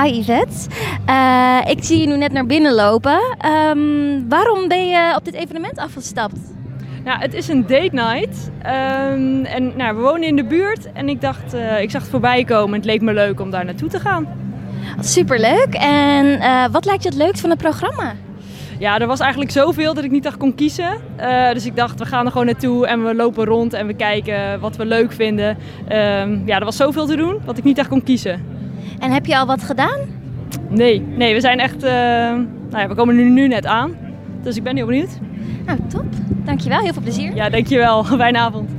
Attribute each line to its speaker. Speaker 1: Hi Yvette. Eh, ik zie je nu net naar binnen lopen. Ehm, waarom ben je op dit evenement afgestapt?
Speaker 2: Nou, het is een date night. Ehm, en nou, we wonen in de buurt en ik dacht, eh, ik zag het voorbij komen. Het leek me leuk om daar naartoe te gaan.
Speaker 1: Superleuk. En eh, wat lijkt je het leukst van het programma?
Speaker 2: Ja, er was eigenlijk zoveel dat ik niet echt kon kiezen. Eh, dus ik dacht, we gaan er gewoon naartoe en we lopen rond en we kijken wat we leuk vinden. Ehm, ja, er was zoveel te doen dat ik niet echt kon kiezen.
Speaker 1: En heb je al wat gedaan?
Speaker 2: Nee, nee, we zijn echt. eh, nou ja, we komen nu, nu net aan. Dus ik ben heel benieuwd.
Speaker 1: Nou, top. Dankjewel. Heel veel plezier.
Speaker 2: Ja, dankjewel. Fijne avond.